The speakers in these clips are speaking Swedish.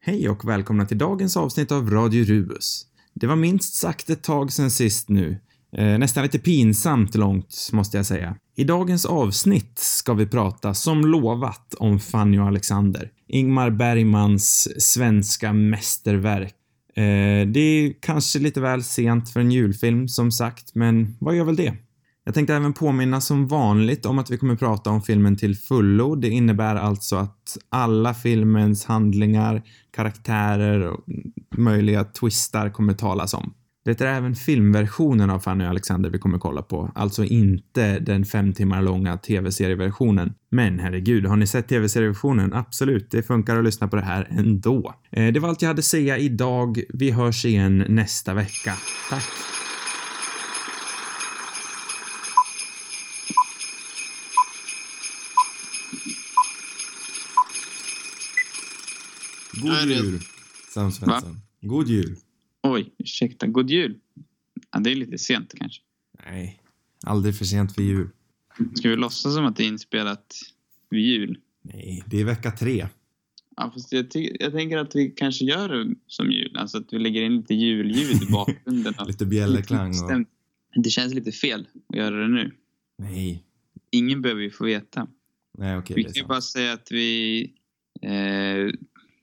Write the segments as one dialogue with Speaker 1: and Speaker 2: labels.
Speaker 1: Hej och välkomna till dagens avsnitt av Radio Rubus. Det var minst sagt ett tag sen sist nu. Eh, nästan lite pinsamt långt, måste jag säga. I dagens avsnitt ska vi prata, som lovat, om Fanny och Alexander. Ingmar Bergmans svenska mästerverk. Eh, det är kanske lite väl sent för en julfilm, som sagt, men vad gör väl det? Jag tänkte även påminna som vanligt om att vi kommer prata om filmen till fullo. Det innebär alltså att alla filmens handlingar, karaktärer och möjliga twistar kommer talas om. Det är även filmversionen av Fanny och Alexander vi kommer kolla på, alltså inte den fem timmar långa tv-serieversionen. Men herregud, har ni sett tv-serieversionen? Absolut, det funkar att lyssna på det här ändå. Eh, Det var allt jag hade att säga idag. Vi hörs igen nästa vecka. Tack!
Speaker 2: God
Speaker 3: Nej, det-
Speaker 2: jul, Sam Svensson. God jul.
Speaker 3: Oj, ursäkta. God jul. Ja, det är lite sent kanske.
Speaker 1: Nej, aldrig för sent för jul.
Speaker 3: Ska vi låtsas som att det är inspelat vid jul?
Speaker 1: Nej, det är vecka tre.
Speaker 3: Ja, fast jag, ty- jag tänker att vi kanske gör det som jul. Alltså att vi lägger in lite julljud i bakgrunden.
Speaker 1: Lite bjällerklang och...
Speaker 3: Stämt. Det känns lite fel att göra det nu.
Speaker 1: Nej.
Speaker 3: Ingen behöver ju få veta.
Speaker 1: Nej, okej.
Speaker 3: Vi
Speaker 1: det är
Speaker 3: kan ju
Speaker 1: sant.
Speaker 3: bara säga att vi eh,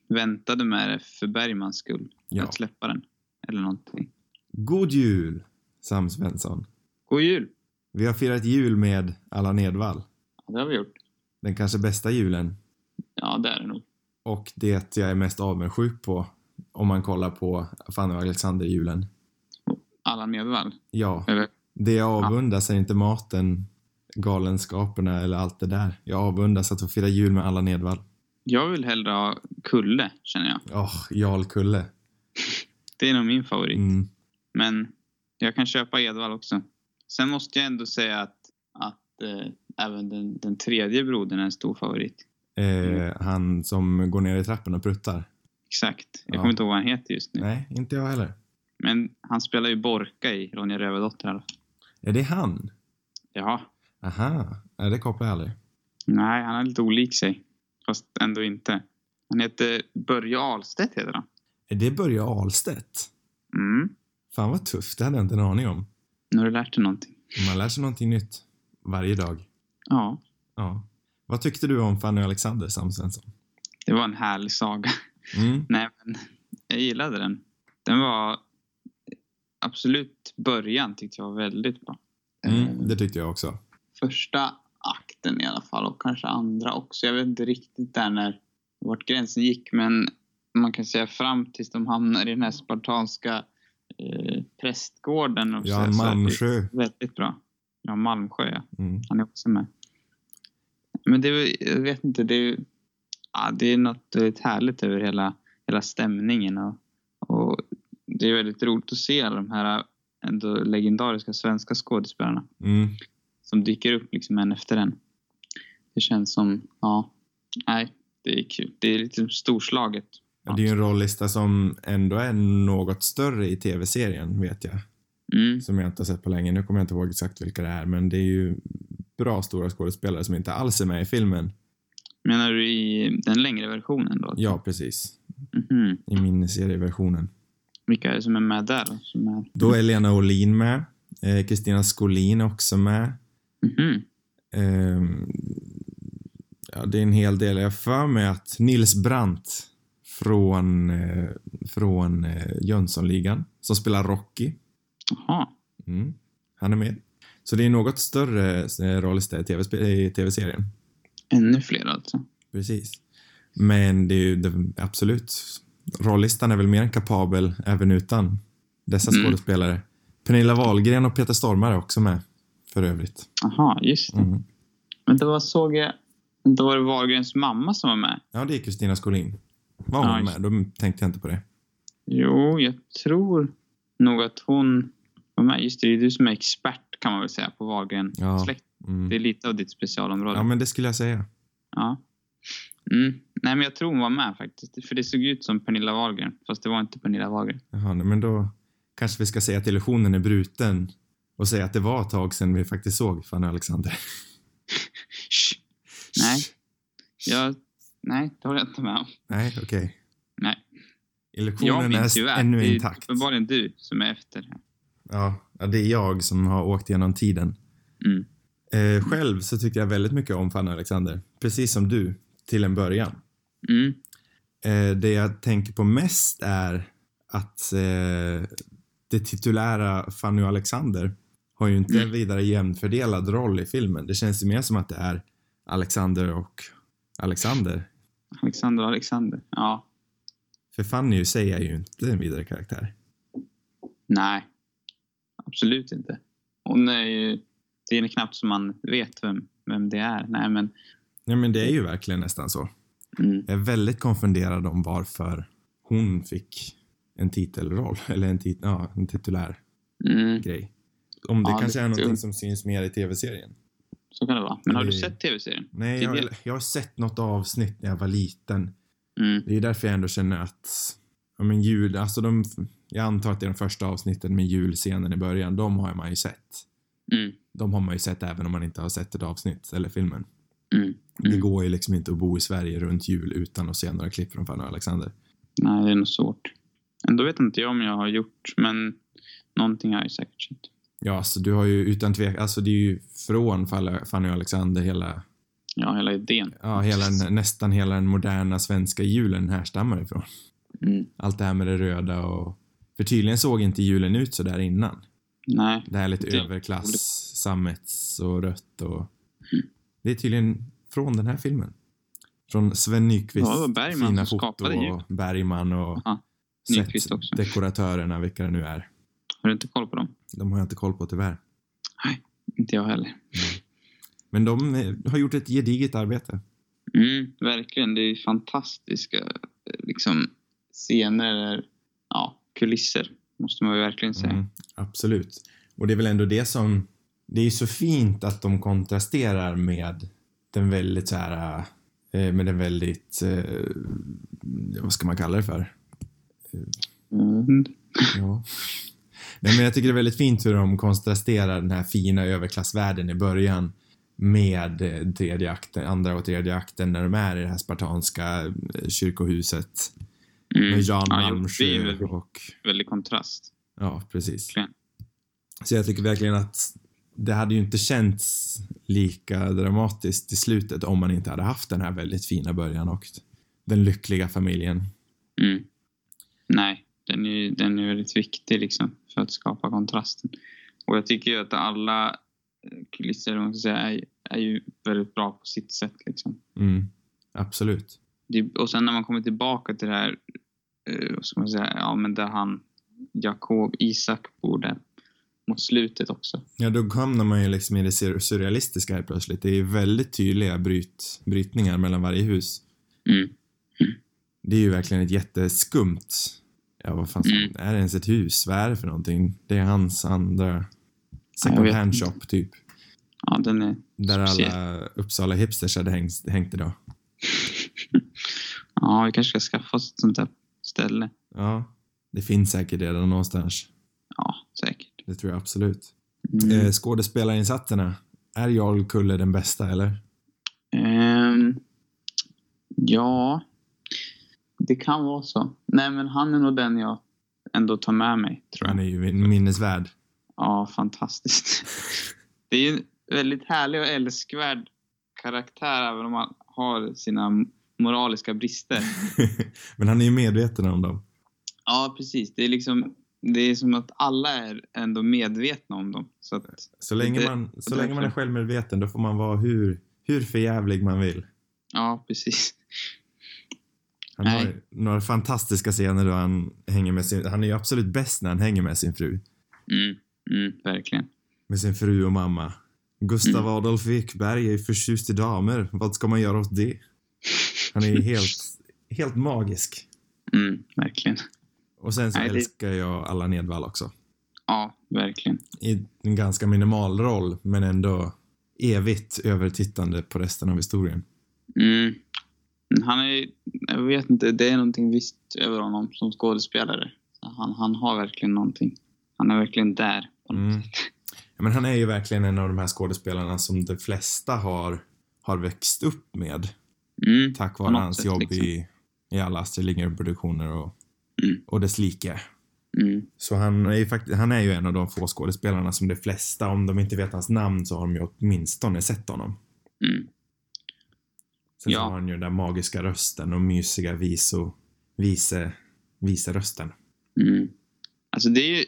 Speaker 3: väntade med det för Bergmans skull.
Speaker 1: Ja.
Speaker 3: Att släppa den. Eller någonting.
Speaker 1: God jul, Sam Svensson.
Speaker 3: God jul!
Speaker 1: Vi har firat jul med Allan Edwall.
Speaker 3: Ja, det har vi gjort.
Speaker 1: Den kanske bästa julen.
Speaker 3: Ja, det är det nog.
Speaker 1: Och det jag är mest avundsjuk på om man kollar på Fanny och Alexander-julen.
Speaker 3: Allan Edwall.
Speaker 1: Ja,
Speaker 3: Eller?
Speaker 1: det jag avundas är inte maten, galenskaperna eller allt det där. Jag avundas att få fira jul med Allan Edwall.
Speaker 3: Jag vill hellre ha Kulle, känner jag.
Speaker 1: Åh, Jarl Kulle.
Speaker 3: Det är nog min favorit.
Speaker 1: Mm.
Speaker 3: Men jag kan köpa Edvall också. Sen måste jag ändå säga att, att eh, även den, den tredje brodern är en stor favorit. Mm.
Speaker 1: Eh, han som går ner i trappen och pruttar.
Speaker 3: Exakt. Jag
Speaker 1: Ja.
Speaker 3: kommer inte ihåg vad han heter just nu.
Speaker 1: Nej, inte jag heller.
Speaker 3: Men han spelar ju Borka i Ronja Rövardotter. i alla fall.
Speaker 1: Är det han?
Speaker 3: Jaha.
Speaker 1: Aha, nej, det kopplar jag aldrig.
Speaker 3: Nej, han är lite olik sig. Fast ändå inte. Han heter Börje Ahlstedt heter han.
Speaker 1: Är det Börje Ahlstedt?
Speaker 3: Mm.
Speaker 1: Fan vad tufft, det hade jag inte en aning om.
Speaker 3: Nu har du lärt dig någonting.
Speaker 1: Man lär sig någonting nytt varje dag.
Speaker 3: Ja,
Speaker 1: Ja. Vad tyckte du om Fanny och Alexander, Sam Svensson?
Speaker 3: det var en härlig saga.
Speaker 1: Mm.
Speaker 3: Nej, men jag gillade den. Den var absolut början tyckte jag var väldigt bra. Eh,
Speaker 1: Mm, det tyckte jag också.
Speaker 3: Första akten i alla fall och kanske andra också. Jag vet inte riktigt där när vart gränsen gick, men man kan säga fram tills de hamnar i den här spartanska eh, prästgården. Och
Speaker 1: Ja,
Speaker 3: så- så är det
Speaker 1: Malmsjö.
Speaker 3: Väldigt bra. Ja, Malmsjö, ja.
Speaker 1: Mm.
Speaker 3: Han är också med. Men det är, jag vet inte, det är, ja, det är något väldigt härligt över hela, hela stämningen. Och, och det är väldigt roligt att se alla de här eh, ändå legendariska svenska skådespelarna
Speaker 1: Mm.
Speaker 3: som dyker upp liksom en efter en. Det känns som, ja, nej, det är kul. Det är lite storslaget.
Speaker 1: Det är ju en rollista som ändå är något större i tv-serien, vet jag.
Speaker 3: Mm,
Speaker 1: Som jag inte har sett på länge. Nu kommer jag inte ihåg exakt vilka det är, men det är ju bra stora skådespelare som inte alls är med i filmen.
Speaker 3: menar du i den längre versionen då?
Speaker 1: Ja, precis.
Speaker 3: Mhm.
Speaker 1: I miniserieversionen.
Speaker 3: Vilka är det som är med där? då? Som är...
Speaker 1: Då är Lena Olin med. Eh, Kristina Skolin är också med.
Speaker 3: Mhm.
Speaker 1: Ehm, ja, det är en hel del. Jag har för mig att Nils Brandt från, eh, från eh, Jönssonligan, som spelar Rocky,
Speaker 3: Jaha.
Speaker 1: mm, han är med. Så det är något större eh, roll i TV-spe- i tv-serien.
Speaker 3: Ännu fler alltså.
Speaker 1: Precis. Men det är ju det, absolut. Rollistan är väl mer än kapabel även utan dessa
Speaker 3: Mm.
Speaker 1: skådespelare. Pernilla Wahlgren och Peter Stormare är också med. För övrigt.
Speaker 3: Jaha, just det.
Speaker 1: Mm.
Speaker 3: Men då var- såg jag... Då var det Wahlgrens mamma som var med.
Speaker 1: Ja, det är Kristina Skolin. Var hon
Speaker 3: Ja, just-
Speaker 1: med? Då tänkte jag inte på det.
Speaker 3: Jo, jag tror nog att hon var med. Just det, det är du som är expert kan man väl säga på Wahlgren
Speaker 1: Ja.
Speaker 3: släkt.
Speaker 1: Mm.
Speaker 3: Det är lite av ditt specialområde.
Speaker 1: Ja, men det skulle jag säga.
Speaker 3: Ja. Mm. Nej, men jag tror hon var med faktiskt. För det såg ut som Pernilla Wahlgren, fast det var inte Pernilla Wahlgren.
Speaker 1: Jaha, nej, men då kanske vi ska säga att illusionen är bruten och säga att det var ett tag sedan vi faktiskt såg Fanny och Alexander.
Speaker 3: Shh. Nej, jag... Nej, det håller jag inte med om.
Speaker 1: Nej, okej.
Speaker 3: Nej. Jag
Speaker 1: Illusionen
Speaker 3: finns ju
Speaker 1: är
Speaker 3: väl.
Speaker 1: ännu
Speaker 3: Det är
Speaker 1: intakt.
Speaker 3: uppenbarligen du som är efter. här.
Speaker 1: Ja, ja, det är jag som har åkt genom tiden.
Speaker 3: Mm.
Speaker 1: Eh, själv så tyckte jag väldigt mycket om Fanny och Alexander. Precis som du, till en början.
Speaker 3: Mm.
Speaker 1: Eh, det jag tänker på mest är att eh, det titulära Fanny och Alexander har ju inte en
Speaker 3: Mm.
Speaker 1: vidare jämnfördelad roll i filmen. Det känns ju mer som att det är Alexander och Alexander.
Speaker 3: Alexander och Alexander. Ja.
Speaker 1: För Fanny i sig är ju inte en vidare karaktär.
Speaker 3: Nej. Absolut inte. Hon är ju... Det är knappt som man vet vem, vem det är. Nej, men...
Speaker 1: Ja, men det är ju verkligen nästan så.
Speaker 3: Mm.
Speaker 1: Jag är väldigt konfunderad om varför hon fick en titelroll, eller en, tit ja, en titulär
Speaker 3: Mm.
Speaker 1: grej. Om det
Speaker 3: Ja,
Speaker 1: kanske
Speaker 3: det-
Speaker 1: är någonting som syns mer i tv-serien.
Speaker 3: Så kan det vara. Men har du
Speaker 1: Nej.
Speaker 3: sett tv-serien?
Speaker 1: Nej,
Speaker 3: Det är
Speaker 1: jag,
Speaker 3: det.
Speaker 1: jag har sett något avsnitt när jag var liten.
Speaker 3: Mm.
Speaker 1: Det är därför jag ändå känner att, ja men jul, alltså de, jag antar att det är de första avsnitten med julscenen i början, de har man ju sett.
Speaker 3: Mm.
Speaker 1: De har man ju sett även om man inte har sett ett avsnitt eller filmen.
Speaker 3: Mm.
Speaker 1: Det går ju liksom inte att bo i Sverige runt jul utan att se några klipp från Fanny och Alexander.
Speaker 3: Nej, det är nog svårt. Ändå vet inte jag om jag har gjort, men någonting har jag säkert sett.
Speaker 1: Ja, så du har ju utan tvekan, alltså det är ju från Fall- Fanny och Alexander hela,
Speaker 3: Ja, hela idén.
Speaker 1: ja, hela, den- nästan hela den moderna svenska julen härstammar ifrån.
Speaker 3: Mm.
Speaker 1: Allt det här med det röda och, för tydligen såg inte julen ut så där innan.
Speaker 3: Nej.
Speaker 1: Det här lite
Speaker 3: Det- Mm.
Speaker 1: överklass, sammets och rött och, det är tydligen från den här filmen. Från Sven Nyqvists
Speaker 3: Ja, det var Bergman
Speaker 1: fina
Speaker 3: som skapade
Speaker 1: foto och Bergman och
Speaker 3: Ja, Nyqvist också.
Speaker 1: sett dekoratörerna, vilka det nu är.
Speaker 3: Har du inte koll på dem?
Speaker 1: De har jag inte koll på tyvärr.
Speaker 3: Inte jag heller.
Speaker 1: Men de eh, har gjort ett gediget arbete.
Speaker 3: Mm, verkligen. Det är fantastiska eh, liksom, scener, eller, ja, kulisser, måste man ju verkligen säga.
Speaker 1: Mm, absolut. Och det är väl ändå det som... Det är ju så fint att de kontrasterar med den väldigt så här... eh, Med den väldigt... Eh, vad ska man kalla det för?
Speaker 3: Mm.
Speaker 1: Ja. Nej, men jag tycker det är väldigt fint hur de kontrasterar den här fina överklassvärlden i början med eh, tredje akten, andra och tredje akten när de är i det här spartanska eh, kyrkohuset
Speaker 3: Mm.
Speaker 1: med Jan
Speaker 3: Ja, jo, det är
Speaker 1: Malmsjö
Speaker 3: väl
Speaker 1: och
Speaker 3: väldigt kontrast.
Speaker 1: Ja, precis.
Speaker 3: Verkligen.
Speaker 1: Så jag tycker verkligen att det hade ju inte känts lika dramatiskt i slutet om man inte hade haft den här väldigt fina början och den lyckliga familjen.
Speaker 3: Mm. Nej, den är ju den är väldigt viktig liksom, för att skapa kontrasten. Och jag tycker ju att alla eh, kulisser om man ska säga, är, är ju väldigt bra på sitt sätt. Liksom.
Speaker 1: Mm, absolut.
Speaker 3: Det, och sen när man kommer tillbaka till det här, eh, vad ska man säga, ja, men där han, Jakob Isak bor där mot slutet också.
Speaker 1: Ja, då hamnar man ju liksom i det sur- surrealistiska här plötsligt. Det är väldigt tydliga bryt, brytningar mellan varje hus.
Speaker 3: Mm.
Speaker 1: Det är ju verkligen ett jätteskumt... Ja, vad fan ska-
Speaker 3: Mm.
Speaker 1: Är det ens ett hus? Vad är det för någonting? Det är hans andra second
Speaker 3: vet
Speaker 1: hand
Speaker 3: inte.
Speaker 1: shop, typ.
Speaker 3: Ja, den är...
Speaker 1: Där alla
Speaker 3: Speciellt.
Speaker 1: Uppsala hipsters hade hängt, hängt idag.
Speaker 3: Ja, vi kanske ska skaffa oss ett sånt där ställe.
Speaker 1: Ja, det finns säkert redan någonstans.
Speaker 3: Ja, säkert.
Speaker 1: Det tror jag absolut.
Speaker 3: Mm.
Speaker 1: Eh, skådespelarinsatserna. Är Jarl Kulle den bästa eller?
Speaker 3: Ehm, ja, det kan vara så. Nej, men han är nog den jag ändå tar med mig, tror
Speaker 1: Han
Speaker 3: jag.
Speaker 1: är ju min- minnesvärd.
Speaker 3: Ja, fantastiskt. Det är ju en väldigt härlig och älskvärd karaktär, även om han har sina moraliska brister.
Speaker 1: Men han är ju medveten om dem.
Speaker 3: Ja, precis. Det är liksom... Det är som att alla är ändå medvetna om dem. Så att,
Speaker 1: Så länge
Speaker 3: Det-
Speaker 1: man, så
Speaker 3: det-
Speaker 1: länge man är självmedveten då får man vara hur, hur förjävlig man vill.
Speaker 3: ja, precis.
Speaker 1: Han
Speaker 3: Nej.
Speaker 1: har ju några fantastiska scener då han hänger med sin... Han är ju absolut bäst när han hänger med sin fru.
Speaker 3: Mm, mm, verkligen.
Speaker 1: Med sin fru och mamma. Gustav
Speaker 3: Mm.
Speaker 1: Adolf Ekberg är ju förtjust i damer. Vad ska man göra åt det? Han är ju helt, helt magisk.
Speaker 3: Mm, verkligen.
Speaker 1: Och sen så
Speaker 3: Nej, det-
Speaker 1: älskar jag Allan Edwall också.
Speaker 3: Ja, verkligen.
Speaker 1: I en ganska minimal roll, men ändå evigt övertittande på resten av historien.
Speaker 3: Mm. Men Han är, jag vet inte, det är någonting visst över honom som skådespelare. Han, han har verkligen någonting. Han är verkligen där.
Speaker 1: Mm. Ja, men han är ju verkligen en av de här skådespelarna som de flesta har, har växt upp med
Speaker 3: Mm.
Speaker 1: tack
Speaker 3: På
Speaker 1: vare
Speaker 3: något
Speaker 1: hans
Speaker 3: sätt,
Speaker 1: jobb
Speaker 3: liksom.
Speaker 1: i, i alla Astrid Lindgren-produktioner och
Speaker 3: Mm.
Speaker 1: och dess like.
Speaker 3: Mm.
Speaker 1: Så han är, ju fakt- han är ju en av de få skådespelarna som de flesta, om de inte vet hans namn, så har de ju åtminstone sett honom.
Speaker 3: Mm.
Speaker 1: Sen
Speaker 3: Ja.
Speaker 1: så har han ju den där magiska rösten och mysiga viso, vise, vise rösten.
Speaker 3: Mm. Alltså det är ju,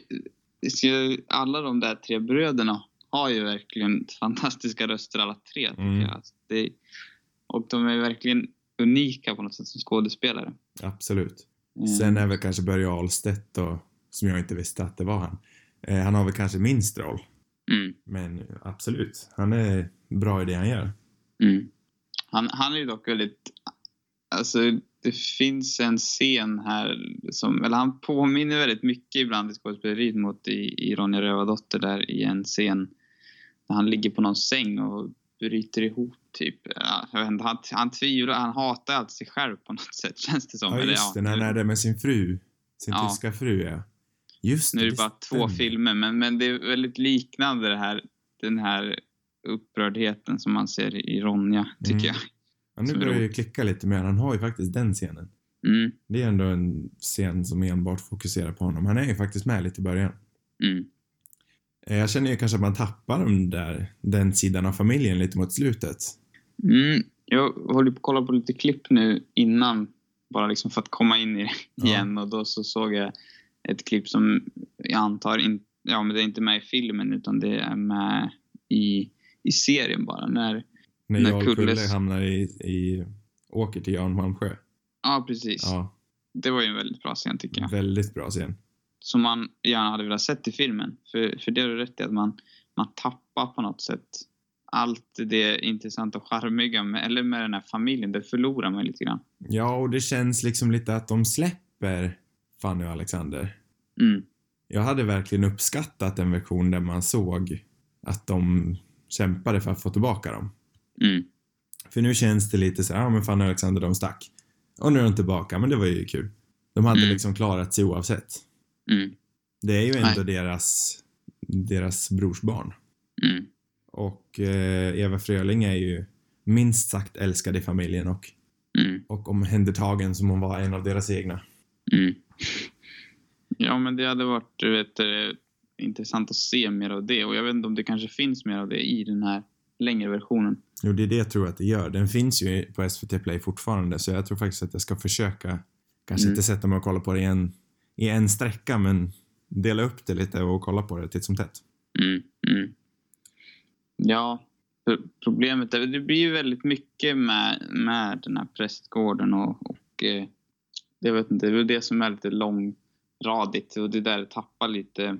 Speaker 3: det ska ju- alla de där tre bröderna har ju verkligen fantastiska röster alla tre. Tycker
Speaker 1: Mm.
Speaker 3: jag. Alltså det, och de är ju verkligen unika på något sätt som skådespelare.
Speaker 1: Absolut.
Speaker 3: Mm.
Speaker 1: Sen är väl kanske Börje Ahlstedt då, som jag inte visste att det var han. Eh, han har väl kanske minst roll,
Speaker 3: Mm.
Speaker 1: men absolut. Han är bra i det han gör.
Speaker 3: Mm. Han, han är ju dock väldigt... Alltså, det finns en scen här som... Eller han påminner väldigt mycket ibland i skådespeleriet mot i, i Ronja Rövardotter där i en scen när han ligger på någon säng och bryter ihop typ. Ja, jag vet inte, han, han tvivlar, han hatar alltid sig själv på något sätt känns det som.
Speaker 1: Ja,
Speaker 3: Eller
Speaker 1: just det. När han är där med sin fru. Sin
Speaker 3: Ja.
Speaker 1: tyska fru, ja. Just
Speaker 3: nu är det
Speaker 1: det
Speaker 3: bara två
Speaker 1: stämmer.
Speaker 3: filmer, men, men det är väldigt liknande det här, den här upprördheten som man ser i Ronja, tycker
Speaker 1: Mm.
Speaker 3: jag.
Speaker 1: Ja, nu
Speaker 3: som är
Speaker 1: börjar det ju klicka lite mer. Han har ju faktiskt den scenen.
Speaker 3: Mm,
Speaker 1: Det är ändå en scen som enbart fokuserar på honom. Han är ju faktiskt med lite i början.
Speaker 3: mm,
Speaker 1: Eh, Jag känner ju kanske att man tappar den där, den sidan av familjen lite mot slutet.
Speaker 3: Mm, jag håller på att kolla på lite klipp nu innan, bara liksom för att komma in i det
Speaker 1: Ja.
Speaker 3: igen. Och då så såg jag ett klipp som jag antar inte, ja men det är inte med i filmen utan det är med i, i serien bara. När,
Speaker 1: När
Speaker 3: När
Speaker 1: jag och Kulle
Speaker 3: Kulles-
Speaker 1: hamnar i, i... Åker till Jan Malmsjö.
Speaker 3: ja precis.
Speaker 1: Ja, Mm.
Speaker 3: Det var ju en väldigt bra scen tycker jag.
Speaker 1: väldigt bra scen.
Speaker 3: Som man gärna hade velat sett i filmen. För, för det har du rätt i att man, man tappar på något sätt allt det intressanta och charmiga med, eller med den här familjen. Det förlorar man lite grann.
Speaker 1: Ja, och det känns liksom lite att de släpper Fanny och Alexander.
Speaker 3: Mm,
Speaker 1: Jag hade verkligen uppskattat en version där man såg att de kämpade för att få tillbaka dem.
Speaker 3: mm,
Speaker 1: För nu känns det lite så här, ja men fan Alexander de stack. Och nu är de tillbaka, men det var ju kul. De hade
Speaker 3: Mm.
Speaker 1: liksom klarat sig oavsett.
Speaker 3: mm,
Speaker 1: Det är ju ändå deras, deras brorsbarn.
Speaker 3: mm.
Speaker 1: Och eh, Eva Fröling är ju minst sagt älskad i familjen och,
Speaker 3: Mm,
Speaker 1: och omhändertagen som hon var en av deras egna.
Speaker 3: mm. Ja, men det hade varit du vet, eh, intressant att se mer av det. Och jag vet inte om det kanske finns mer av det i den här längre versionen.
Speaker 1: Jo, det är det jag tror att det gör. Den finns ju på SVT Play fortfarande så jag tror faktiskt att jag ska försöka, kanske
Speaker 3: Mm.
Speaker 1: inte sätta mig och kolla på det i en, i en sträcka men dela upp det lite och kolla på det titt som tätt.
Speaker 3: Mm, mm. Ja, pro- problemet är det blir ju väldigt mycket med, med den här prästgården och, och eh, jag vet inte, det är väl det som är lite långradigt och det där tappar lite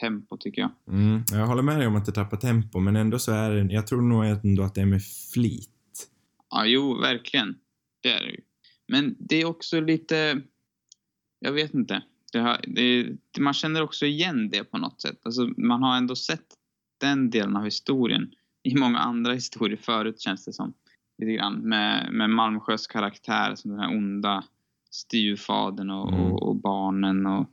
Speaker 3: tempo tycker jag.
Speaker 1: Mm, jag håller med dig om att det tappar tempo, men ändå så är det, jag tror nog ändå att det är med flit.
Speaker 3: Ja, jo, verkligen. Det är det ju. Men det är också lite... Jag vet inte. Det har, det, det- man känner också igen det på något sätt. Alltså, man har ändå sett den delen av historien i många andra historier förut, känns det som. Lite grann. Med, med Malmsjös karaktär som den här onda styvfadern och,
Speaker 1: Mm.
Speaker 3: och, och barnen och...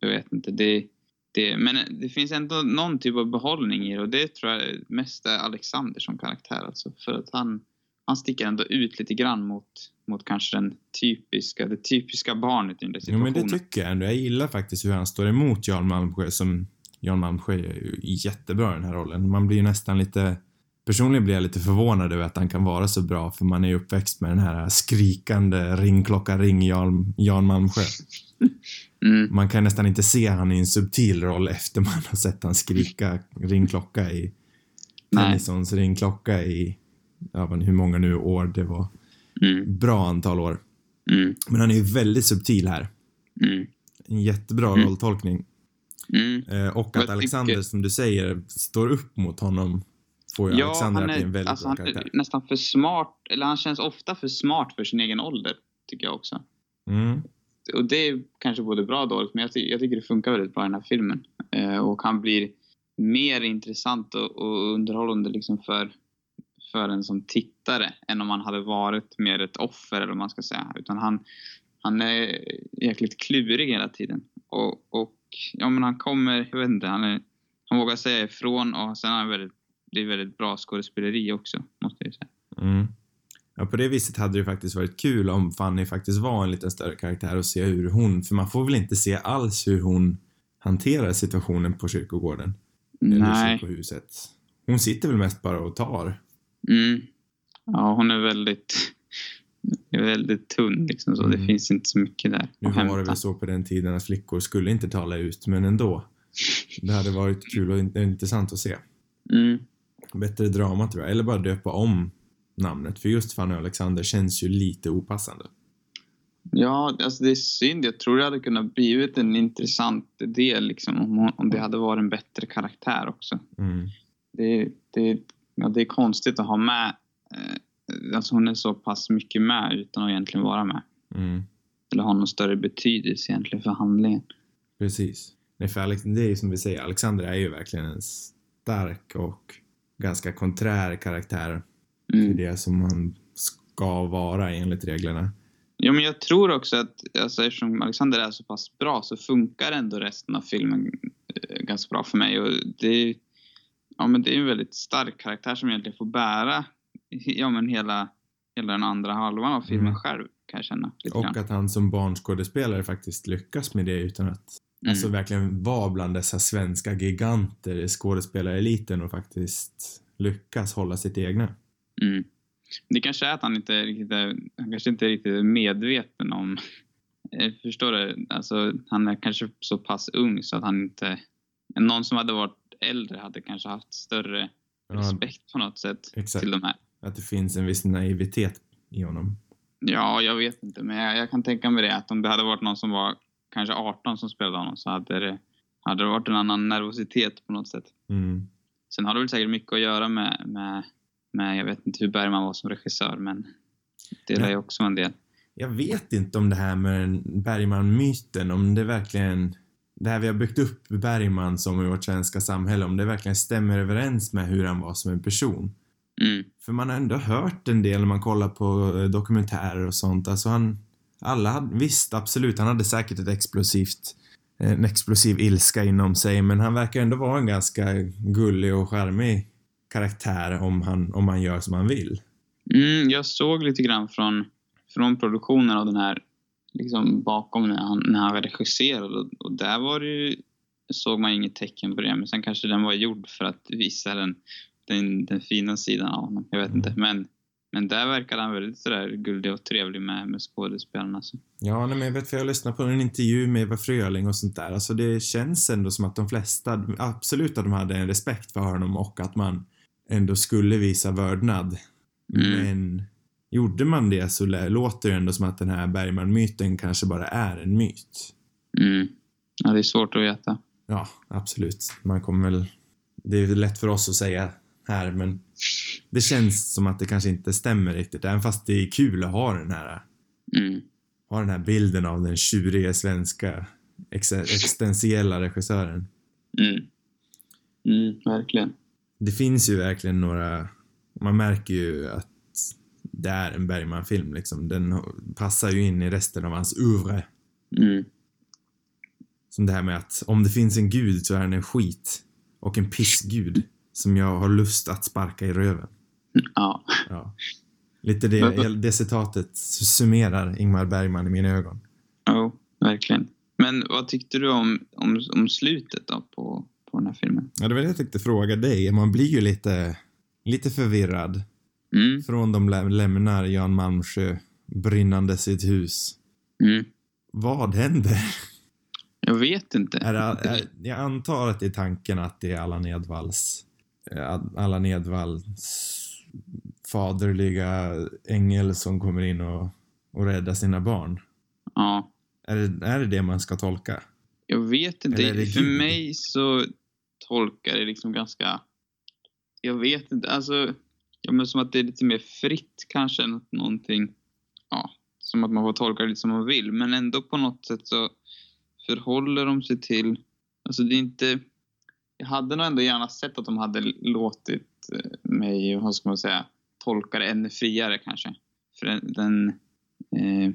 Speaker 3: Jag vet inte. Det, det, men det finns ändå någon typ av behållning i det och det tror jag mest är Alexander som karaktär. Alltså, för att han han sticker ändå ut lite grann mot, mot kanske den typiska, det typiska barnet i den där
Speaker 1: Jo, men
Speaker 3: situationen.
Speaker 1: det tycker jag ändå. Jag gillar faktiskt hur han står emot Jan Malmsjö som Jan Malmsjö är ju jättebra i den här rollen. Man blir ju nästan lite Personligen blir jag lite förvånad över att han kan vara så bra för man är ju uppväxt med den här skrikande ring klocka ring Jan, Jan Malmsjö.
Speaker 3: mm,
Speaker 1: Man kan nästan inte se han i en subtil roll efter man har sett han skrika ring klocka i
Speaker 3: Nej.
Speaker 1: Tennissons ring klocka i ja, men hur många nu år det var.
Speaker 3: mm,
Speaker 1: Bra antal år.
Speaker 3: mm,
Speaker 1: Men han är ju väldigt subtil här.
Speaker 3: mm,
Speaker 1: En jättebra
Speaker 3: Mm.
Speaker 1: rolltolkning.
Speaker 3: mm.
Speaker 1: Eh, och
Speaker 3: Jag
Speaker 1: att
Speaker 3: tycker-
Speaker 1: Alexander, som du säger, står upp mot honom får ju Alexander
Speaker 3: han
Speaker 1: att bli en väldigt
Speaker 3: alltså,
Speaker 1: bra
Speaker 3: han är
Speaker 1: karaktär.
Speaker 3: nästan för smart, eller han känns ofta för smart för sin egen ålder, tycker jag också.
Speaker 1: Mm.
Speaker 3: Och det är kanske både bra och dåligt, men jag, ty- jag tycker det funkar väldigt bra i den här filmen. Eh, och han blir mer intressant och, och underhållande liksom för, för en som tittare än om han hade varit mer ett offer, eller vad man ska säga. Utan han, han är jäkligt klurig hela tiden. Och, och ja, men han kommer, jag vet inte, han, är, han vågar säga ifrån och sen är han väldigt, det är väldigt bra skådespeleri också, måste jag ju säga.
Speaker 1: Mm. Ja, Ja, på det viset hade det faktiskt varit kul om Fanny faktiskt var en liten större karaktär och se hur hon, för man får väl inte se alls hur hon hanterar situationen på kyrkogården. Eller
Speaker 3: Nej.
Speaker 1: kyrkohuset. Hon sitter väl mest bara och tar.
Speaker 3: Mm. Ja, hon är väldigt, är väldigt tunn liksom så.
Speaker 1: Mm.
Speaker 3: Det finns inte så mycket där
Speaker 1: Nu
Speaker 3: att
Speaker 1: var det
Speaker 3: hämta.
Speaker 1: väl så på den tiden att flickor skulle inte tala ut, men ändå. Det hade varit kul och in- intressant att se.
Speaker 3: Mm.
Speaker 1: Bättre drama tror jag, eller bara döpa om namnet. För just Fanny och Alexander känns ju lite opassande.
Speaker 3: Ja, alltså det är synd. Jag tror det hade kunnat blivit en intressant del liksom, om, hon, om det hade varit en bättre karaktär också.
Speaker 1: Mm.
Speaker 3: Det, det, ja, det är konstigt att ha med. Eh, alltså hon är så pass mycket med utan att egentligen vara med.
Speaker 1: Mm.
Speaker 3: Eller ha någon större betydelse egentligen för handlingen.
Speaker 1: Precis. Nej, för Alex, det är ju som vi säger, Alexander är ju verkligen en stark och ganska konträr karaktär till
Speaker 3: Mm.
Speaker 1: det som han ska vara enligt reglerna.
Speaker 3: Ja, men jag tror också att alltså, eftersom Alexander är så pass bra så funkar ändå resten av filmen eh, ganska bra för mig. Och det, ja, men det är en väldigt stark karaktär som egentligen får bära ja, men hela, hela den andra halvan av filmen
Speaker 1: Mm.
Speaker 3: själv, kan jag känna. Lite grann.
Speaker 1: Och att han som barnskådespelare faktiskt lyckas med det utan att
Speaker 3: Mm.
Speaker 1: Alltså verkligen vara bland dessa svenska giganter i skådespelareliten och faktiskt lyckas hålla sitt egna.
Speaker 3: Mm. Det kanske är att han inte är riktigt är, han kanske inte är riktigt medveten om... Eh, Förstår du? Alltså, han är kanske så pass ung så att han inte... Någon som hade varit äldre hade kanske haft större
Speaker 1: Ja,
Speaker 3: respekt på något sätt
Speaker 1: exakt.
Speaker 3: till de här.
Speaker 1: Att det finns en viss naivitet i honom.
Speaker 3: Ja, jag vet inte, men jag, jag kan tänka mig det. Att om det hade varit någon som var kanske 18 som spelade honom så hade det, hade det varit en annan nervositet på något sätt.
Speaker 1: Mm.
Speaker 3: Sen har det väl säkert mycket att göra med, med, med jag vet inte hur Bergman var som regissör, men det är ju också en del.
Speaker 1: Jag vet inte om det här med den Bergman-myten, om det verkligen... Det här vi har byggt upp Bergman som i vårt svenska samhälle, om det verkligen stämmer överens med hur han var som en person.
Speaker 3: Mm.
Speaker 1: För man har ändå hört en del när man kollar på eh, dokumentärer och sånt. Alltså han... Alla hade, visst, absolut, han hade säkert ett explosivt... En explosiv ilska inom sig, men han verkar ändå vara en ganska gullig och charmig karaktär om han, om han gör som han vill.
Speaker 3: Mm, jag såg lite grann från, från produktionen av den här liksom bakom när han, när han regisserade och, och där var det ju, såg man inget tecken på det men sen kanske den var gjord för att visa den, den, den fina sidan av honom. Jag vet
Speaker 1: Mm.
Speaker 3: inte men, men där verkade han väldigt sådär gullig och trevlig med, med skådespelarna. Så.
Speaker 1: Ja, nej, men jag vet för jag lyssnade på en intervju med Eva Fröling och sånt där. Alltså det känns ändå som att de flesta, absolut att de hade en respekt för honom och att man ändå skulle visa vördnad
Speaker 3: Mm.
Speaker 1: Men gjorde man det så lä- låter det ändå som att den här Bergman-myten kanske bara är en myt.
Speaker 3: Mm. Ja, det är svårt att veta.
Speaker 1: Ja, absolut. Man kommer väl... Det är ju lätt för oss att säga här, men det känns som att det kanske inte stämmer riktigt. Även fast det är kul att ha den här,
Speaker 3: Mm.
Speaker 1: ha den här bilden av den tjurige svenska ex- existentiella regissören.
Speaker 3: Mm. Mm, verkligen.
Speaker 1: Det finns ju verkligen några... Man märker ju att det är en Bergman-film liksom. Den passar ju in i resten av hans oeuvre.
Speaker 3: Mm.
Speaker 1: Som det här med att om det finns en gud så är han en skit och en pissgud som jag har lust att sparka i röven.
Speaker 3: Ja.
Speaker 1: Ja. Lite det, det citatet summerar Ingmar Bergman i mina ögon.
Speaker 3: Jo, verkligen. Men vad tyckte du om, om, om slutet då på, på den här filmen?
Speaker 1: Ja, det var det jag tänkte fråga dig. Man blir ju lite, lite förvirrad
Speaker 3: Mm,
Speaker 1: från de lä- lämnar Jan Malmsjö brinnande sitt hus.
Speaker 3: mm.
Speaker 1: Vad händer?
Speaker 3: Jag vet inte.
Speaker 1: Är det, är, jag antar att det är tanken att det är Allan Edwalls eh, Allan Edwalls faderliga ängel som kommer in och, och räddar sina barn.
Speaker 3: Ja,
Speaker 1: Är det, är det det man ska tolka?
Speaker 3: jag vet inte.
Speaker 1: Eller är det
Speaker 3: För
Speaker 1: ljud?
Speaker 3: mig så tolkar det liksom ganska... Jag vet inte. Alltså, ja, men som att det är lite mer fritt kanske än att någonting... Ja, som att man får tolka det lite som man vill. Men ändå på något sätt så förhåller de sig till... Alltså det är inte... Jag hade nog ändå gärna sett att de hade låtit eh, mig, vad ska man säga, tolka det ännu friare kanske. För den... den eh,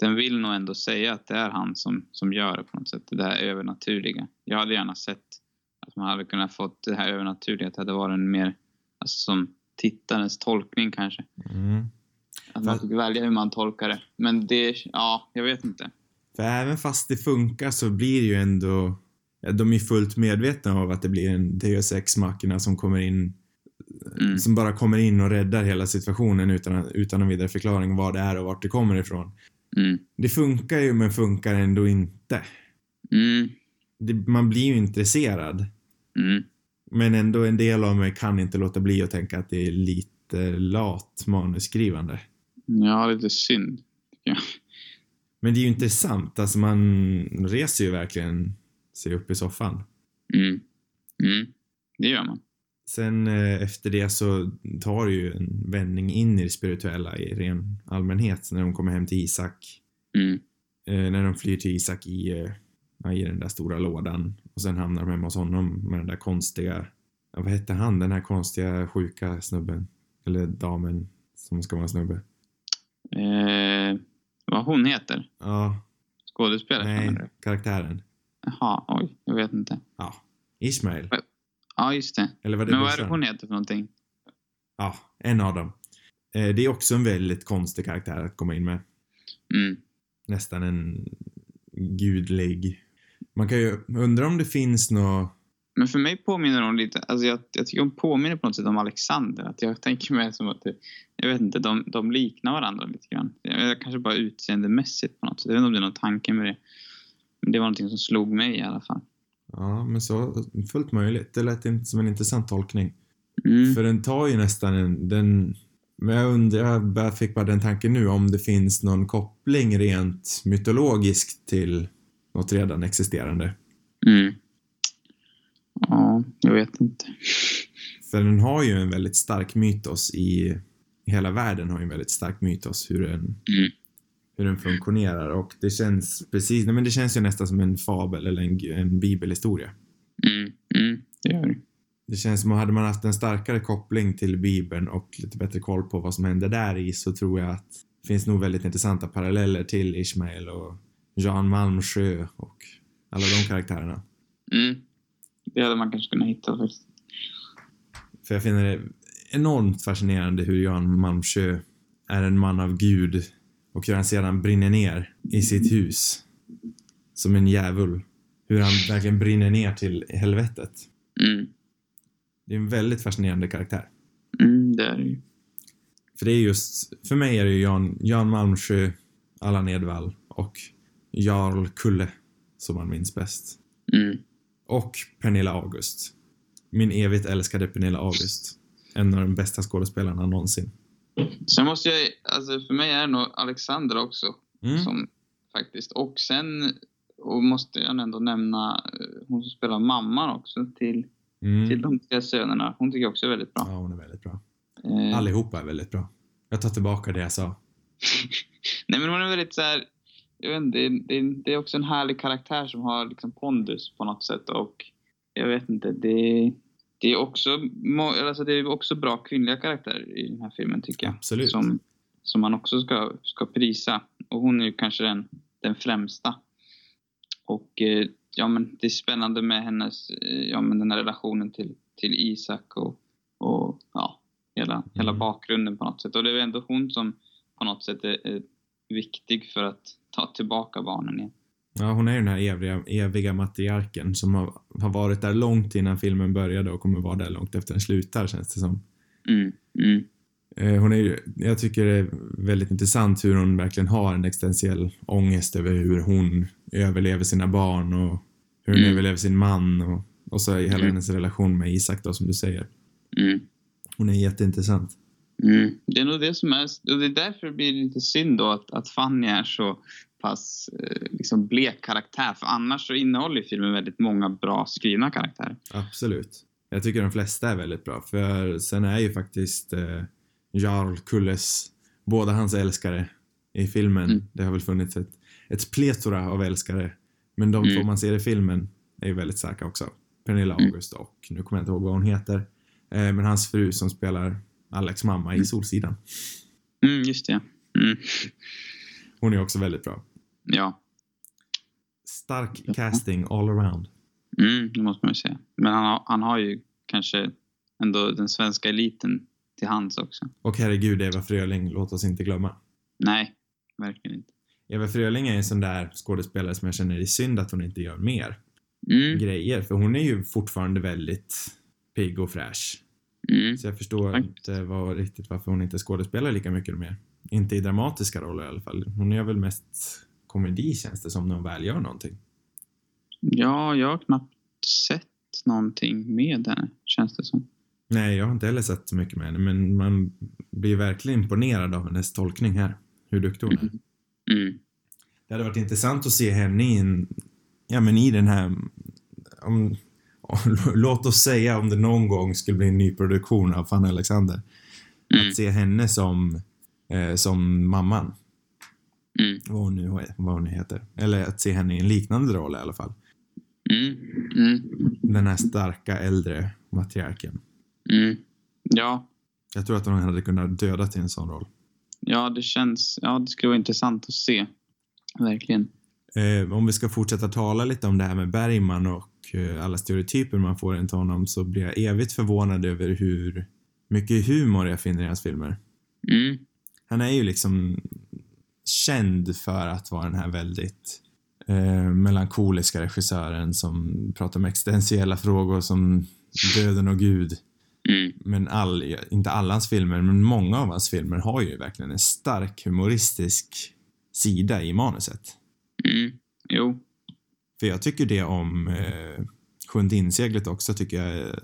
Speaker 3: den vill nog ändå säga att det är han som, som gör det på något sätt. Det här övernaturliga. Jag hade gärna sett att man hade kunnat fått det här övernaturliga. Att det hade varit en mer, alltså som tittarens tolkning kanske.
Speaker 1: Mm.
Speaker 3: Att man fick välja hur man tolkar det. Men det, ja, jag vet inte.
Speaker 1: För även fast det funkar så blir det ju ändå... ja, De är ju fullt medvetna av att det blir en Deus ex machina som kommer in...
Speaker 3: Mm.
Speaker 1: Som bara kommer in och räddar hela situationen utan, utan någon vidare förklaring vad det är och vart det kommer ifrån.
Speaker 3: Mm.
Speaker 1: Det funkar ju men funkar ändå inte.
Speaker 3: Mm.
Speaker 1: Det, man blir ju intresserad.
Speaker 3: Mm.
Speaker 1: Men ändå en del av mig kan inte låta bli att tänka att det är lite lat manusskrivande.
Speaker 3: Ja, lite synd.
Speaker 1: Men det är ju intressant, alltså man reser ju verkligen sig upp i soffan.
Speaker 3: Mm. Mm. Det gör man.
Speaker 1: Sen eh, efter det så tar det ju en vändning in i det spirituella i ren allmänhet när de kommer hem till Isak.
Speaker 3: Mm.
Speaker 1: Eh, när de flyr till Isak i, eh, ja, i den där stora lådan och sen hamnar de hemma hos honom med den där konstiga, ja, vad hette han, den här konstiga sjuka snubben? Eller damen som ska vara en snubbe.
Speaker 3: Eh, vad hon heter?
Speaker 1: Ja,
Speaker 3: Skådespelaren?
Speaker 1: nej,
Speaker 3: menar du?
Speaker 1: karaktären.
Speaker 3: Jaha, oj, jag vet inte.
Speaker 1: Ja, Ismail.
Speaker 3: Ja, just det.
Speaker 1: Eller var det
Speaker 3: Men vad är det
Speaker 1: brorsan?
Speaker 3: hon heter för någonting?
Speaker 1: Ja, en av dem. Eh, det är också en väldigt konstig karaktär att komma in med.
Speaker 3: Mm.
Speaker 1: Nästan en gudlig. Man kan ju undra om det finns nå
Speaker 3: Men för mig påminner hon lite, alltså jag, jag tycker hon påminner på något sätt om Alexander. Att jag tänker mig som att, det, jag vet inte, de, de liknar varandra lite grann. Jag, jag kanske bara utseendemässigt på något sätt. Jag vet inte om det är någon tanke med det. Men det var någonting som slog mig i alla fall.
Speaker 1: Ja, men så fullt möjligt. Det lät inte som en intressant tolkning.
Speaker 3: Mm.
Speaker 1: För den tar ju nästan en... Den, men jag undrar, jag bara fick bara den tanken nu om det finns någon koppling rent mytologiskt till något redan existerande.
Speaker 3: Mm. Ja, jag vet inte.
Speaker 1: För den har ju en väldigt stark mytos i... Hela världen har ju en väldigt stark mytos hur den,
Speaker 3: Mm.
Speaker 1: hur den funktionerar och det känns precis, nej men det känns ju nästan som en fabel eller en, en bibelhistoria.
Speaker 3: Mm. Mm. Det gör det.
Speaker 1: Det känns som att hade man haft en starkare koppling till bibeln och lite bättre koll på vad som hände där i så tror jag att det finns nog väldigt intressanta paralleller till Ismael och Jan Malmsjö och alla de karaktärerna.
Speaker 3: Mm. Det hade man kanske kunnat hitta faktiskt.
Speaker 1: För jag finner det enormt fascinerande hur Jan Malmsjö är en man av Gud och hur han sedan brinner ner i sitt hus. Som en djävul. Hur han verkligen brinner ner till helvetet.
Speaker 3: Mm.
Speaker 1: Det är en väldigt fascinerande karaktär.
Speaker 3: Mm, det är det ju.
Speaker 1: För det är just, för mig är det ju Jan, Jan Malmsjö, Allan Edwall och Jarl Kulle som man minns bäst.
Speaker 3: Mm.
Speaker 1: Och Pernilla August. Min evigt älskade Pernilla August. En av de bästa skådespelarna någonsin.
Speaker 3: Sen måste jag, alltså för mig är det nog Alexander också.
Speaker 1: Mm.
Speaker 3: Som, faktiskt. Och sen och måste jag ändå nämna eh, hon som spelar mamman också till, till
Speaker 1: Mm.
Speaker 3: de tre sönerna. Hon tycker jag också är väldigt
Speaker 1: Ja,
Speaker 3: bra.
Speaker 1: hon är väldigt bra.
Speaker 3: Eh,
Speaker 1: Allihopa är väldigt bra. Jag tar tillbaka det jag sa.
Speaker 3: nej men hon är väldigt så här, jag vet inte, det, det, det är också en härlig karaktär som har liksom pondus på något sätt och jag vet inte, det, det är också må- eller alltså det är också bra kvinnliga karaktärer i den här filmen tycker jag.
Speaker 1: Absolut.
Speaker 3: Som, som man också ska, ska prisa. Och hon är ju kanske den, den främsta. Och eh, ja, men det är spännande med hennes, eh, ja men den här relationen till, till Isak och, och ja, hela, hela bakgrunden på något sätt. Och det är väl ändå hon som på något sätt är, är viktig för att ta tillbaka barnen igen.
Speaker 1: Ja, hon är ju den här eviga, eviga matriarken som har, har varit där långt innan filmen började och kommer vara där långt efter den slutar känns det som.
Speaker 3: Mm, mm,
Speaker 1: Eh, Hon är, ju- jag tycker det är väldigt intressant hur hon verkligen har en existentiell ångest över hur hon överlever sina barn och hur hon
Speaker 3: Mm.
Speaker 1: överlever sin man och, och så hela
Speaker 3: Mm.
Speaker 1: hennes relation med Isak då som du säger.
Speaker 3: mm.
Speaker 1: Hon är jätteintressant.
Speaker 3: Mm. Det är nog det som är... Och det är därför det blir lite synd då att, att Fanny är så pass eh, liksom blek karaktär. För annars så innehåller ju filmen väldigt många bra skrivna karaktärer.
Speaker 1: Absolut. Jag tycker de flesta är väldigt bra för sen är ju faktiskt eh, Jarl Kulles, båda hans älskare i filmen.
Speaker 3: Mm.
Speaker 1: Det har väl funnits ett, ett pletora av älskare men de
Speaker 3: Mm.
Speaker 1: två man ser i filmen är ju väldigt starka också. Pernilla
Speaker 3: Mm.
Speaker 1: August och nu kommer jag inte ihåg vad hon heter eh, men hans fru som spelar Alex mamma i
Speaker 3: Mm.
Speaker 1: Solsidan.
Speaker 3: Mm, just det. Mm.
Speaker 1: Hon är också väldigt bra.
Speaker 3: Ja.
Speaker 1: Stark casting all around.
Speaker 3: Mm, det måste man ju säga. Men han har, han har ju kanske ändå den svenska eliten till hands också.
Speaker 1: Och herregud, Eva Fröling, låt oss inte glömma.
Speaker 3: Nej, verkligen inte.
Speaker 1: Eva Fröling är en sån där skådespelare som jag känner det är synd att hon inte gör mer
Speaker 3: Mm,
Speaker 1: grejer, för hon är ju fortfarande väldigt pigg och fräsch.
Speaker 3: mm.
Speaker 1: Så jag förstår
Speaker 3: Tack.
Speaker 1: inte vad, riktigt varför hon inte skådespelar lika mycket mer. Inte i dramatiska roller i alla fall. Hon gör väl mest komedi känns det som när hon väl gör någonting.
Speaker 3: Ja, jag har knappt sett någonting med henne, känns det som.
Speaker 1: Nej, jag har inte heller sett så mycket med henne, men man blir verkligen imponerad av hennes tolkning här. Hur duktig hon är.
Speaker 3: Mm.
Speaker 1: Det hade varit intressant att se henne i en, ja men i den här, om, låt oss säga om det någon gång skulle bli en ny produktion av Fanny Alexander.
Speaker 3: Mm.
Speaker 1: Att se henne som, eh, som mamman,
Speaker 3: Mm.
Speaker 1: vad hon, nu, vad hon nu heter. Eller att se henne i en liknande roll i alla fall.
Speaker 3: Mm. Mm.
Speaker 1: Den här starka äldre matriarken.
Speaker 3: Mm. Ja,
Speaker 1: Jag tror att hon hade kunnat döda till en sån roll.
Speaker 3: ja, det känns... Ja, det skulle vara intressant att se. Verkligen.
Speaker 1: Eh, om vi ska fortsätta tala lite om det här med Bergman och eh, alla stereotyper man får runt honom så blir jag evigt förvånad över hur mycket humor jag finner i hans filmer.
Speaker 3: Mm.
Speaker 1: Han är ju liksom känd för att vara den här väldigt eh, melankoliska regissören som pratar om existentiella frågor som döden och gud.
Speaker 3: Mm.
Speaker 1: Men all, inte alla hans filmer, men många av hans filmer har ju verkligen en stark humoristisk sida i manuset.
Speaker 3: Mm. Jo.
Speaker 1: För jag tycker det om eh, Sjunde inseglet också tycker jag eh,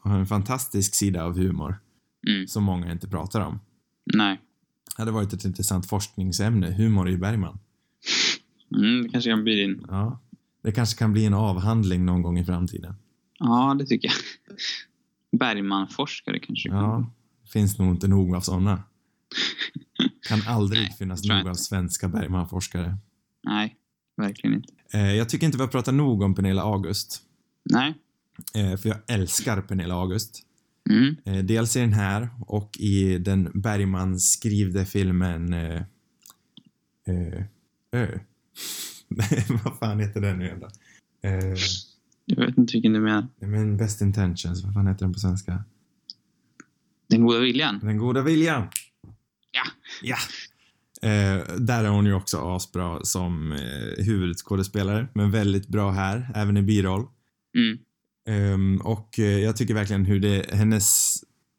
Speaker 1: har en fantastisk sida av humor
Speaker 3: Mm.
Speaker 1: som många inte pratar om.
Speaker 3: Nej.
Speaker 1: Det hade varit ett intressant forskningsämne, humor i Bergman.
Speaker 3: Mm, det kanske kan bli din...
Speaker 1: Ja. Det kanske kan bli en avhandling någon gång i framtiden.
Speaker 3: Ja, det tycker jag. Bergman-forskare kanske. det kan vara.
Speaker 1: Ja. Finns nog inte nog av sådana. Kan aldrig finnas
Speaker 3: tror jag
Speaker 1: nog av svenska Bergman-forskare.
Speaker 3: Nej, verkligen inte.
Speaker 1: Eh, jag tycker inte vi har pratat nog om Pernilla August.
Speaker 3: Nej.
Speaker 1: Eh, för jag älskar Pernilla August.
Speaker 3: Mm.
Speaker 1: Eh, Dels i den här och i den Bergman skrivde filmen eh, eh, Ö. Nej, vad fan heter den nu igen då? Eh,
Speaker 3: Jag vet inte vilken du menar.
Speaker 1: nej, men Best Intentions, vad fan heter den på svenska?
Speaker 3: Den goda viljan?
Speaker 1: Den goda viljan!
Speaker 3: Ja.
Speaker 1: Ja! Eh, där är hon ju också asbra som eh, huvudskådespelare, men väldigt bra här, även i biroll.
Speaker 3: Mm.
Speaker 1: Ehm, och eh, jag tycker verkligen hur det, hennes,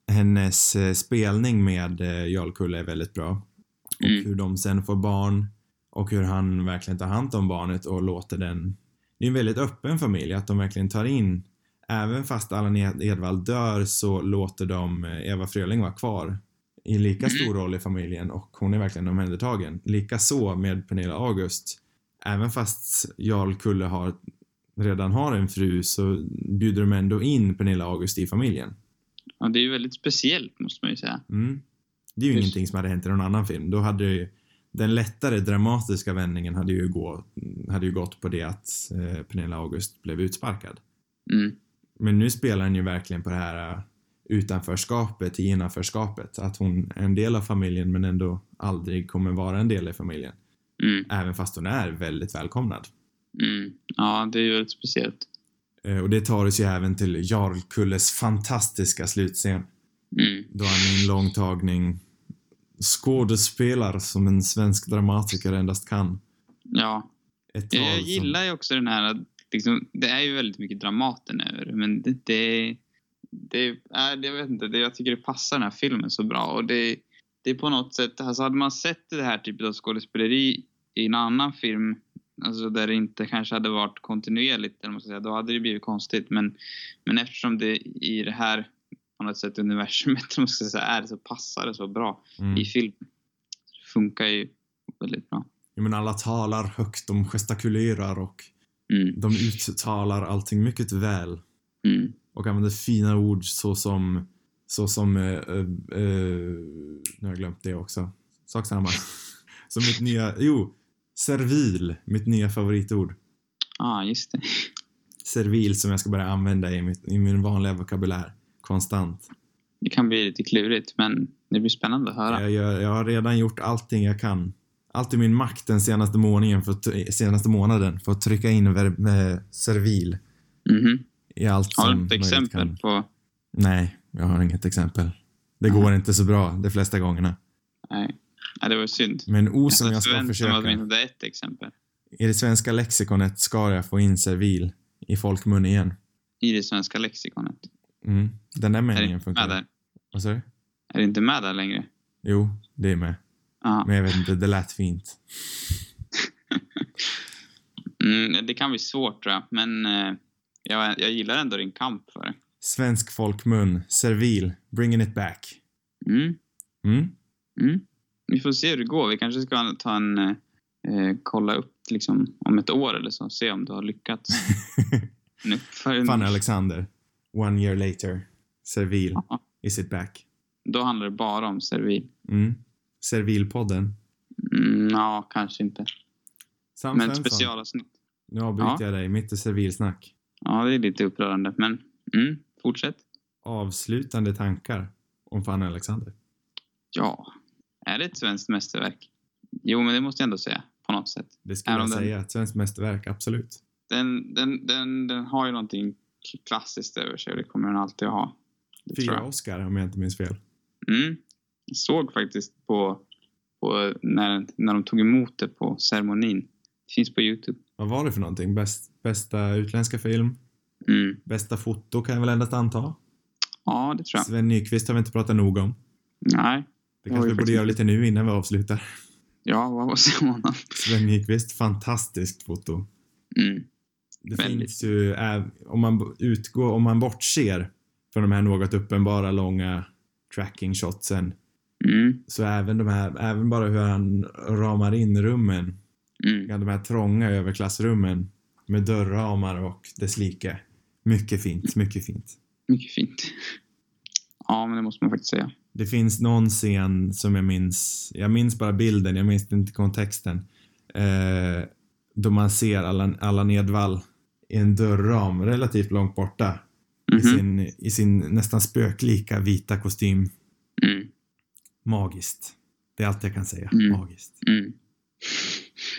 Speaker 1: hennes eh, spelning med eh, Jarlkulle är väldigt bra. Och
Speaker 3: Mm.
Speaker 1: hur de sen får barn och hur han verkligen tar hand om barnet och låter den... Det är en väldigt öppen familj, att de verkligen tar in... Även fast Allan Ed- Edwall dör så låter de eh, Eva Fröling vara kvar i lika stor roll i familjen och hon är verkligen omhändertagen. Likaså med Pernilla August. Även fast Jarl Kulle har, redan har en fru så bjuder de ändå in Pernilla August i familjen.
Speaker 3: Ja, det är ju väldigt speciellt, måste man ju säga.
Speaker 1: Mm. Det är ju
Speaker 3: Just.
Speaker 1: ingenting som hade hänt i någon annan film. Då hade ju den lättare dramatiska vändningen hade ju, gå, hade ju gått på det att eh, Pernilla August blev utsparkad.
Speaker 3: Mm.
Speaker 1: Men nu spelar han ju verkligen på det här eh, utanförskapet i innanförskapet. Att hon är en del av familjen men ändå aldrig kommer vara en del i familjen.
Speaker 3: Mm.
Speaker 1: Även fast hon är väldigt välkomnad.
Speaker 3: Mm. Ja, det är ju väldigt speciellt.
Speaker 1: Eh, Och det tar oss ju även till Jarlkulles fantastiska slutscen.
Speaker 3: Mm.
Speaker 1: Då han i en lång tagning skådespelar som en svensk dramatiker endast kan.
Speaker 3: Ja.
Speaker 1: Ett
Speaker 3: Jag,
Speaker 1: tal
Speaker 3: jag
Speaker 1: som-
Speaker 3: gillar ju också den här... Liksom, det är ju väldigt mycket Dramaten över det, men det... det det är, jag vet inte, det, jag tycker det passar den här filmen så bra. Och det, det är på något sätt, alltså hade man sett det här typet av skådespeleri i en annan film, alltså där det inte kanske hade varit kontinuerligt, eller vad man ska säga, då hade det blivit konstigt. Men, men eftersom det i det här på något sätt universumet, om man ska säga, är så passar det så bra
Speaker 1: Mm.
Speaker 3: i filmen. Det funkar ju väldigt bra.
Speaker 1: Jo, men alla talar högt, de gestakulerar och
Speaker 3: Mm,
Speaker 1: de uttalar allting mycket väl.
Speaker 3: mm,
Speaker 1: och använder fina ord såsom såsom eh, eh, eh, nu har jag glömt det också. Sak samma. Som mitt nya, jo, servil, mitt nya favoritord.
Speaker 3: ah, just det.
Speaker 1: Servil som jag ska börja använda i, mitt, i min vanliga vokabulär konstant.
Speaker 3: Det kan bli lite klurigt, men det blir spännande att höra.
Speaker 1: Jag, gör, jag har redan gjort allting jag kan. Allt i min makt den senaste månaden för att, senaste månaden för att trycka in verb, eh, servil
Speaker 3: Mhm.
Speaker 1: i allt
Speaker 3: Har
Speaker 1: som
Speaker 3: du något
Speaker 1: möjligt
Speaker 3: exempel
Speaker 1: Kan.
Speaker 3: på...
Speaker 1: Nej, jag har inget exempel. Det går inte så bra de flesta gångerna.
Speaker 3: Nej, ja, det var synd.
Speaker 1: Men O som
Speaker 3: hade
Speaker 1: jag ska
Speaker 3: förväntat mig
Speaker 1: försöka.
Speaker 3: åtminstone ett exempel
Speaker 1: I det svenska lexikonet ska jag få in servil i folkmun igen.
Speaker 3: i det svenska lexikonet.
Speaker 1: Mm. Den där
Speaker 3: Är det
Speaker 1: meningen
Speaker 3: inte med
Speaker 1: funkar.
Speaker 3: där?
Speaker 1: Vad sa du?
Speaker 3: Är det inte med där längre?
Speaker 1: Jo, det är med.
Speaker 3: Ja.
Speaker 1: Men jag vet inte, det lät fint.
Speaker 3: Mm, det kan bli svårt tror jag, men eh, jag, jag gillar ändå din kamp för det.
Speaker 1: Svensk folkmun, servil, bringing it back.
Speaker 3: Mm,
Speaker 1: Mm.
Speaker 3: mm. Vi får se hur det går. Vi kanske ska ta en... eh, Eh, kolla upp liksom, om ett år eller så, se om du har lyckats. nu, för,
Speaker 1: Fan Alexander. One year later. Servil
Speaker 3: Ja.
Speaker 1: is it back.
Speaker 3: Då handlar det bara om servil.
Speaker 1: Mm. Servilpodden.
Speaker 3: Mm, ja, kanske inte.
Speaker 1: Sam
Speaker 3: Men ett
Speaker 1: Svensson.
Speaker 3: specialavsnitt.
Speaker 1: Nu avbryter
Speaker 3: Ja.
Speaker 1: jag dig mitt i servilsnack.
Speaker 3: Ja, det är lite upprörande, men mm, fortsätt.
Speaker 1: Avslutande tankar om Fanny Alexander.
Speaker 3: Ja. Är det ett svenskt mästerverk? Jo, men det måste jag ändå säga. På något sätt.
Speaker 1: Det skulle
Speaker 3: Är
Speaker 1: jag
Speaker 3: hon den-
Speaker 1: säga. Ett svenskt mästerverk, absolut.
Speaker 3: Den, den, den, den har ju någonting klassiskt över sig och det kommer den alltid att ha. Det tror
Speaker 1: Fyra
Speaker 3: jag.
Speaker 1: Oscar om jag inte minns fel.
Speaker 3: Mm. Jag såg faktiskt på, på när, när de tog emot det på ceremonin. Det finns på Youtube.
Speaker 1: Vad var det för någonting? Bäst, bästa utländska film?
Speaker 3: Mm.
Speaker 1: Bästa foto kan jag väl endast anta?
Speaker 3: Ja, det tror jag.
Speaker 1: Sven Nykvist har vi inte pratat nog om.
Speaker 3: Nej.
Speaker 1: Det
Speaker 3: Oj,
Speaker 1: kanske vi borde
Speaker 3: faktiskt.
Speaker 1: göra lite nu innan vi avslutar.
Speaker 3: Ja, vad var Simona?
Speaker 1: Sven Nykvist, fantastiskt foto.
Speaker 3: Mm.
Speaker 1: Det
Speaker 3: Väldigt.
Speaker 1: finns ju, äh, om man b- utgår, om man bortser från de här något uppenbara långa tracking shotsen,
Speaker 3: Mm.
Speaker 1: så även de här, även bara hur han ramar in rummen,
Speaker 3: Mm.
Speaker 1: de här trånga överklassrummen med dörrramar och dess like. Mycket fint, mycket fint.
Speaker 3: Mycket fint. Ja, men det måste man faktiskt säga.
Speaker 1: Det finns någon scen som jag minns, jag minns bara bilden, jag minns inte kontexten, eh, då man ser Allan, Allan Edwall i en dörrram relativt långt borta i,
Speaker 3: Mhm.
Speaker 1: sin, i sin nästan spöklika vita kostym.
Speaker 3: Mm.
Speaker 1: Magiskt. Det är allt jag kan säga.
Speaker 3: Mm.
Speaker 1: Magiskt.
Speaker 3: Mm.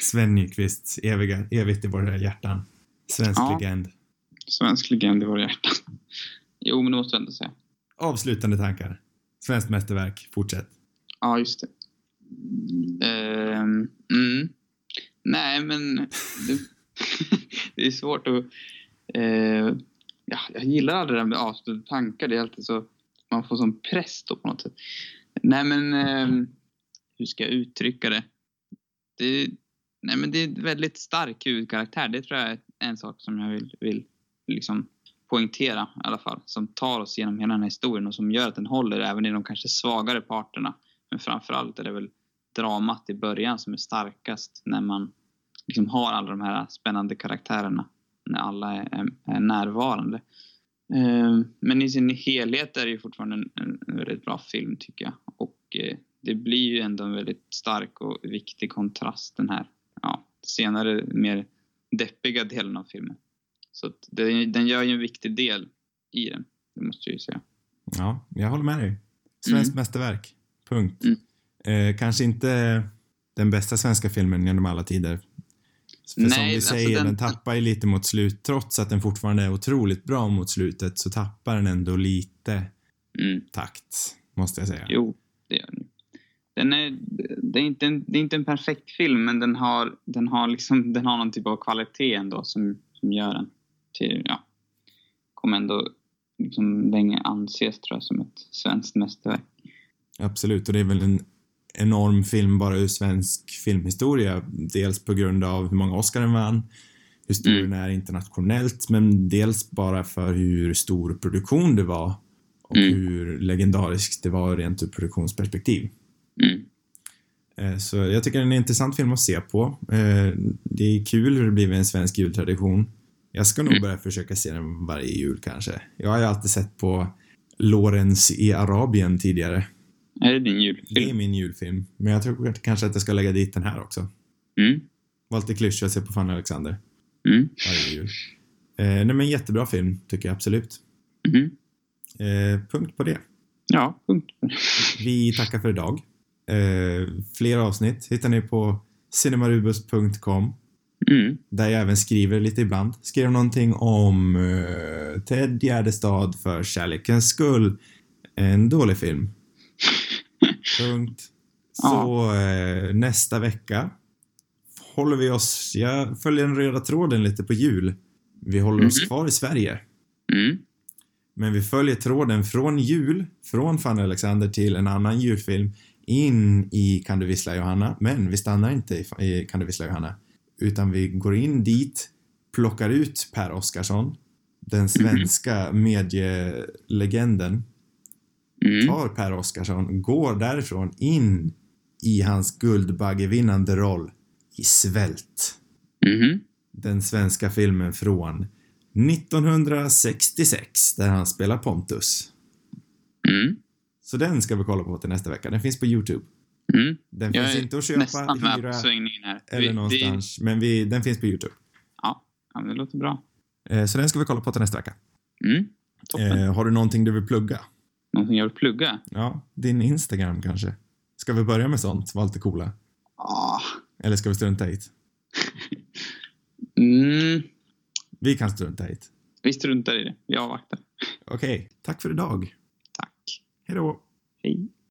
Speaker 1: Sven Nykvist, eviga, evigt i våra hjärtan. Svensk
Speaker 3: Ja.
Speaker 1: legend.
Speaker 3: Svensk legend i våra hjärtan. Jo, men det måste jag ändå säga.
Speaker 1: Avslutande tankar. Svenskt mästerverk. Fortsätt.
Speaker 3: Ja, just det. Ehm, mm. Nej, men det, det är svårt att... eh, ja, jag gillar aldrig det där med avslutade tankar. Det är alltid så... Man får sån press då på något sätt. Nej, men ehm, hur ska jag uttrycka det? det nej, men det är en väldigt stark huvudkaraktär. Det tror jag är en sak som jag vill, vill liksom poängtera i alla fall. Som tar oss genom hela den här historien och som gör att den håller även i de kanske svagare parterna. Men framförallt är det väl dramat i början som är starkast när man liksom har alla de här spännande karaktärerna. När alla är, är, är närvarande. Eh, Men i sin helhet är det ju fortfarande en, en, en väldigt bra film tycker jag. Och eh, det blir ju ändå en väldigt stark och viktig kontrast den här ja, senare mer deppiga delen av filmen. Så att det, den gör ju en viktig del i den, det måste jag ju säga.
Speaker 1: Ja, jag håller med dig. Svenskt
Speaker 3: Mm.
Speaker 1: mästerverk. Punkt. Eh, kanske inte den bästa svenska filmen genom alla tider. För som
Speaker 3: Nej,
Speaker 1: vi
Speaker 3: alltså
Speaker 1: säger, den...
Speaker 3: den-
Speaker 1: tappar ju lite mot slut. Trots att den fortfarande är otroligt bra mot slutet så tappar den ändå lite
Speaker 3: Mm.
Speaker 1: takt, måste jag säga.
Speaker 3: Jo, det gör den ju. den är, det, är inte en, det är inte en perfekt film, men den har, den har, liksom, den har någon typ av kvalitet ändå som, som gör den till, ja, kommer ändå liksom länge anses tror jag som ett svenskt mästerverk.
Speaker 1: Absolut, och det är väl en enorm film bara ur svensk filmhistoria. Dels på grund av hur många Oscar den vann, hur stor
Speaker 3: Mm.
Speaker 1: den är internationellt, men dels bara för hur stor produktion det var och
Speaker 3: Mm.
Speaker 1: hur legendariskt det var rent ur produktionsperspektiv.
Speaker 3: Mm.
Speaker 1: Eh, Så jag tycker det är en intressant film att se på. Eh, Det är kul hur det blivit en svensk jultradition. Jag ska nog
Speaker 3: Mm.
Speaker 1: börja försöka se den varje jul kanske. Jag har ju alltid sett på Lawrence i Arabien tidigare.
Speaker 3: Är det din
Speaker 1: Det är
Speaker 3: julfilm?
Speaker 1: min julfilm. Men jag tror att- kanske att jag ska lägga dit den här också.
Speaker 3: Mm.
Speaker 1: Var lite klyschig att se på Fanny Alexander
Speaker 3: Mm.
Speaker 1: varje jul. Eh, nej men jättebra film, tycker jag absolut.
Speaker 3: Mm.
Speaker 1: Eh, punkt på det.
Speaker 3: Ja, punkt.
Speaker 1: Vi tackar för idag. Eh, fler avsnitt hittar ni på cinemarubus.com
Speaker 3: Mm.
Speaker 1: där jag även skriver lite ibland. Skrev någonting om eh, Ted Gärdestad för kärlekens skull. En dålig film. Punkt. Så eh, nästa vecka håller vi oss, jag följer den röda tråden lite på jul. Vi håller oss
Speaker 3: Mhm.
Speaker 1: kvar i Sverige.
Speaker 3: Mm.
Speaker 1: Men vi följer tråden från jul, från Fanny Alexander till en annan julfilm in i Kan du vissla Johanna? Men vi stannar inte i, i Kan du vissla Johanna? Utan vi går in dit, plockar ut Per Oscarsson, den svenska medielegenden,
Speaker 3: Mm.
Speaker 1: tar Per Oscarsson, går därifrån in i hans Guldbaggevinnande roll i Svält.
Speaker 3: Mhm.
Speaker 1: Den svenska filmen från 1966 där han spelar Pontus.
Speaker 3: Mm.
Speaker 1: Så den ska vi kolla på till nästa vecka. Den finns på Youtube.
Speaker 3: Mm.
Speaker 1: Den
Speaker 3: Jag
Speaker 1: finns
Speaker 3: är
Speaker 1: inte att köpa,
Speaker 3: Nästan med
Speaker 1: hyra
Speaker 3: på svängningen här. Vi-
Speaker 1: eller någonstans. Men vi, den finns på Youtube.
Speaker 3: Det, ja, det låter bra.
Speaker 1: Eh, Så den ska vi kolla på till nästa vecka.
Speaker 3: Mm. Toppen.
Speaker 1: Eh, har du någonting du vill plugga?
Speaker 3: Någonting jag vill plugga?
Speaker 1: Ja, din Instagram kanske? Ska vi börja med sånt? Var lite coola.
Speaker 3: Ah.
Speaker 1: Eller ska vi strunta i det?
Speaker 3: Mm.
Speaker 1: Vi kan strunta i det.
Speaker 3: Vi struntar i det. Vi avvaktar.
Speaker 1: Okej, tack för idag.
Speaker 3: Tack.
Speaker 1: Hej då.
Speaker 3: Hej.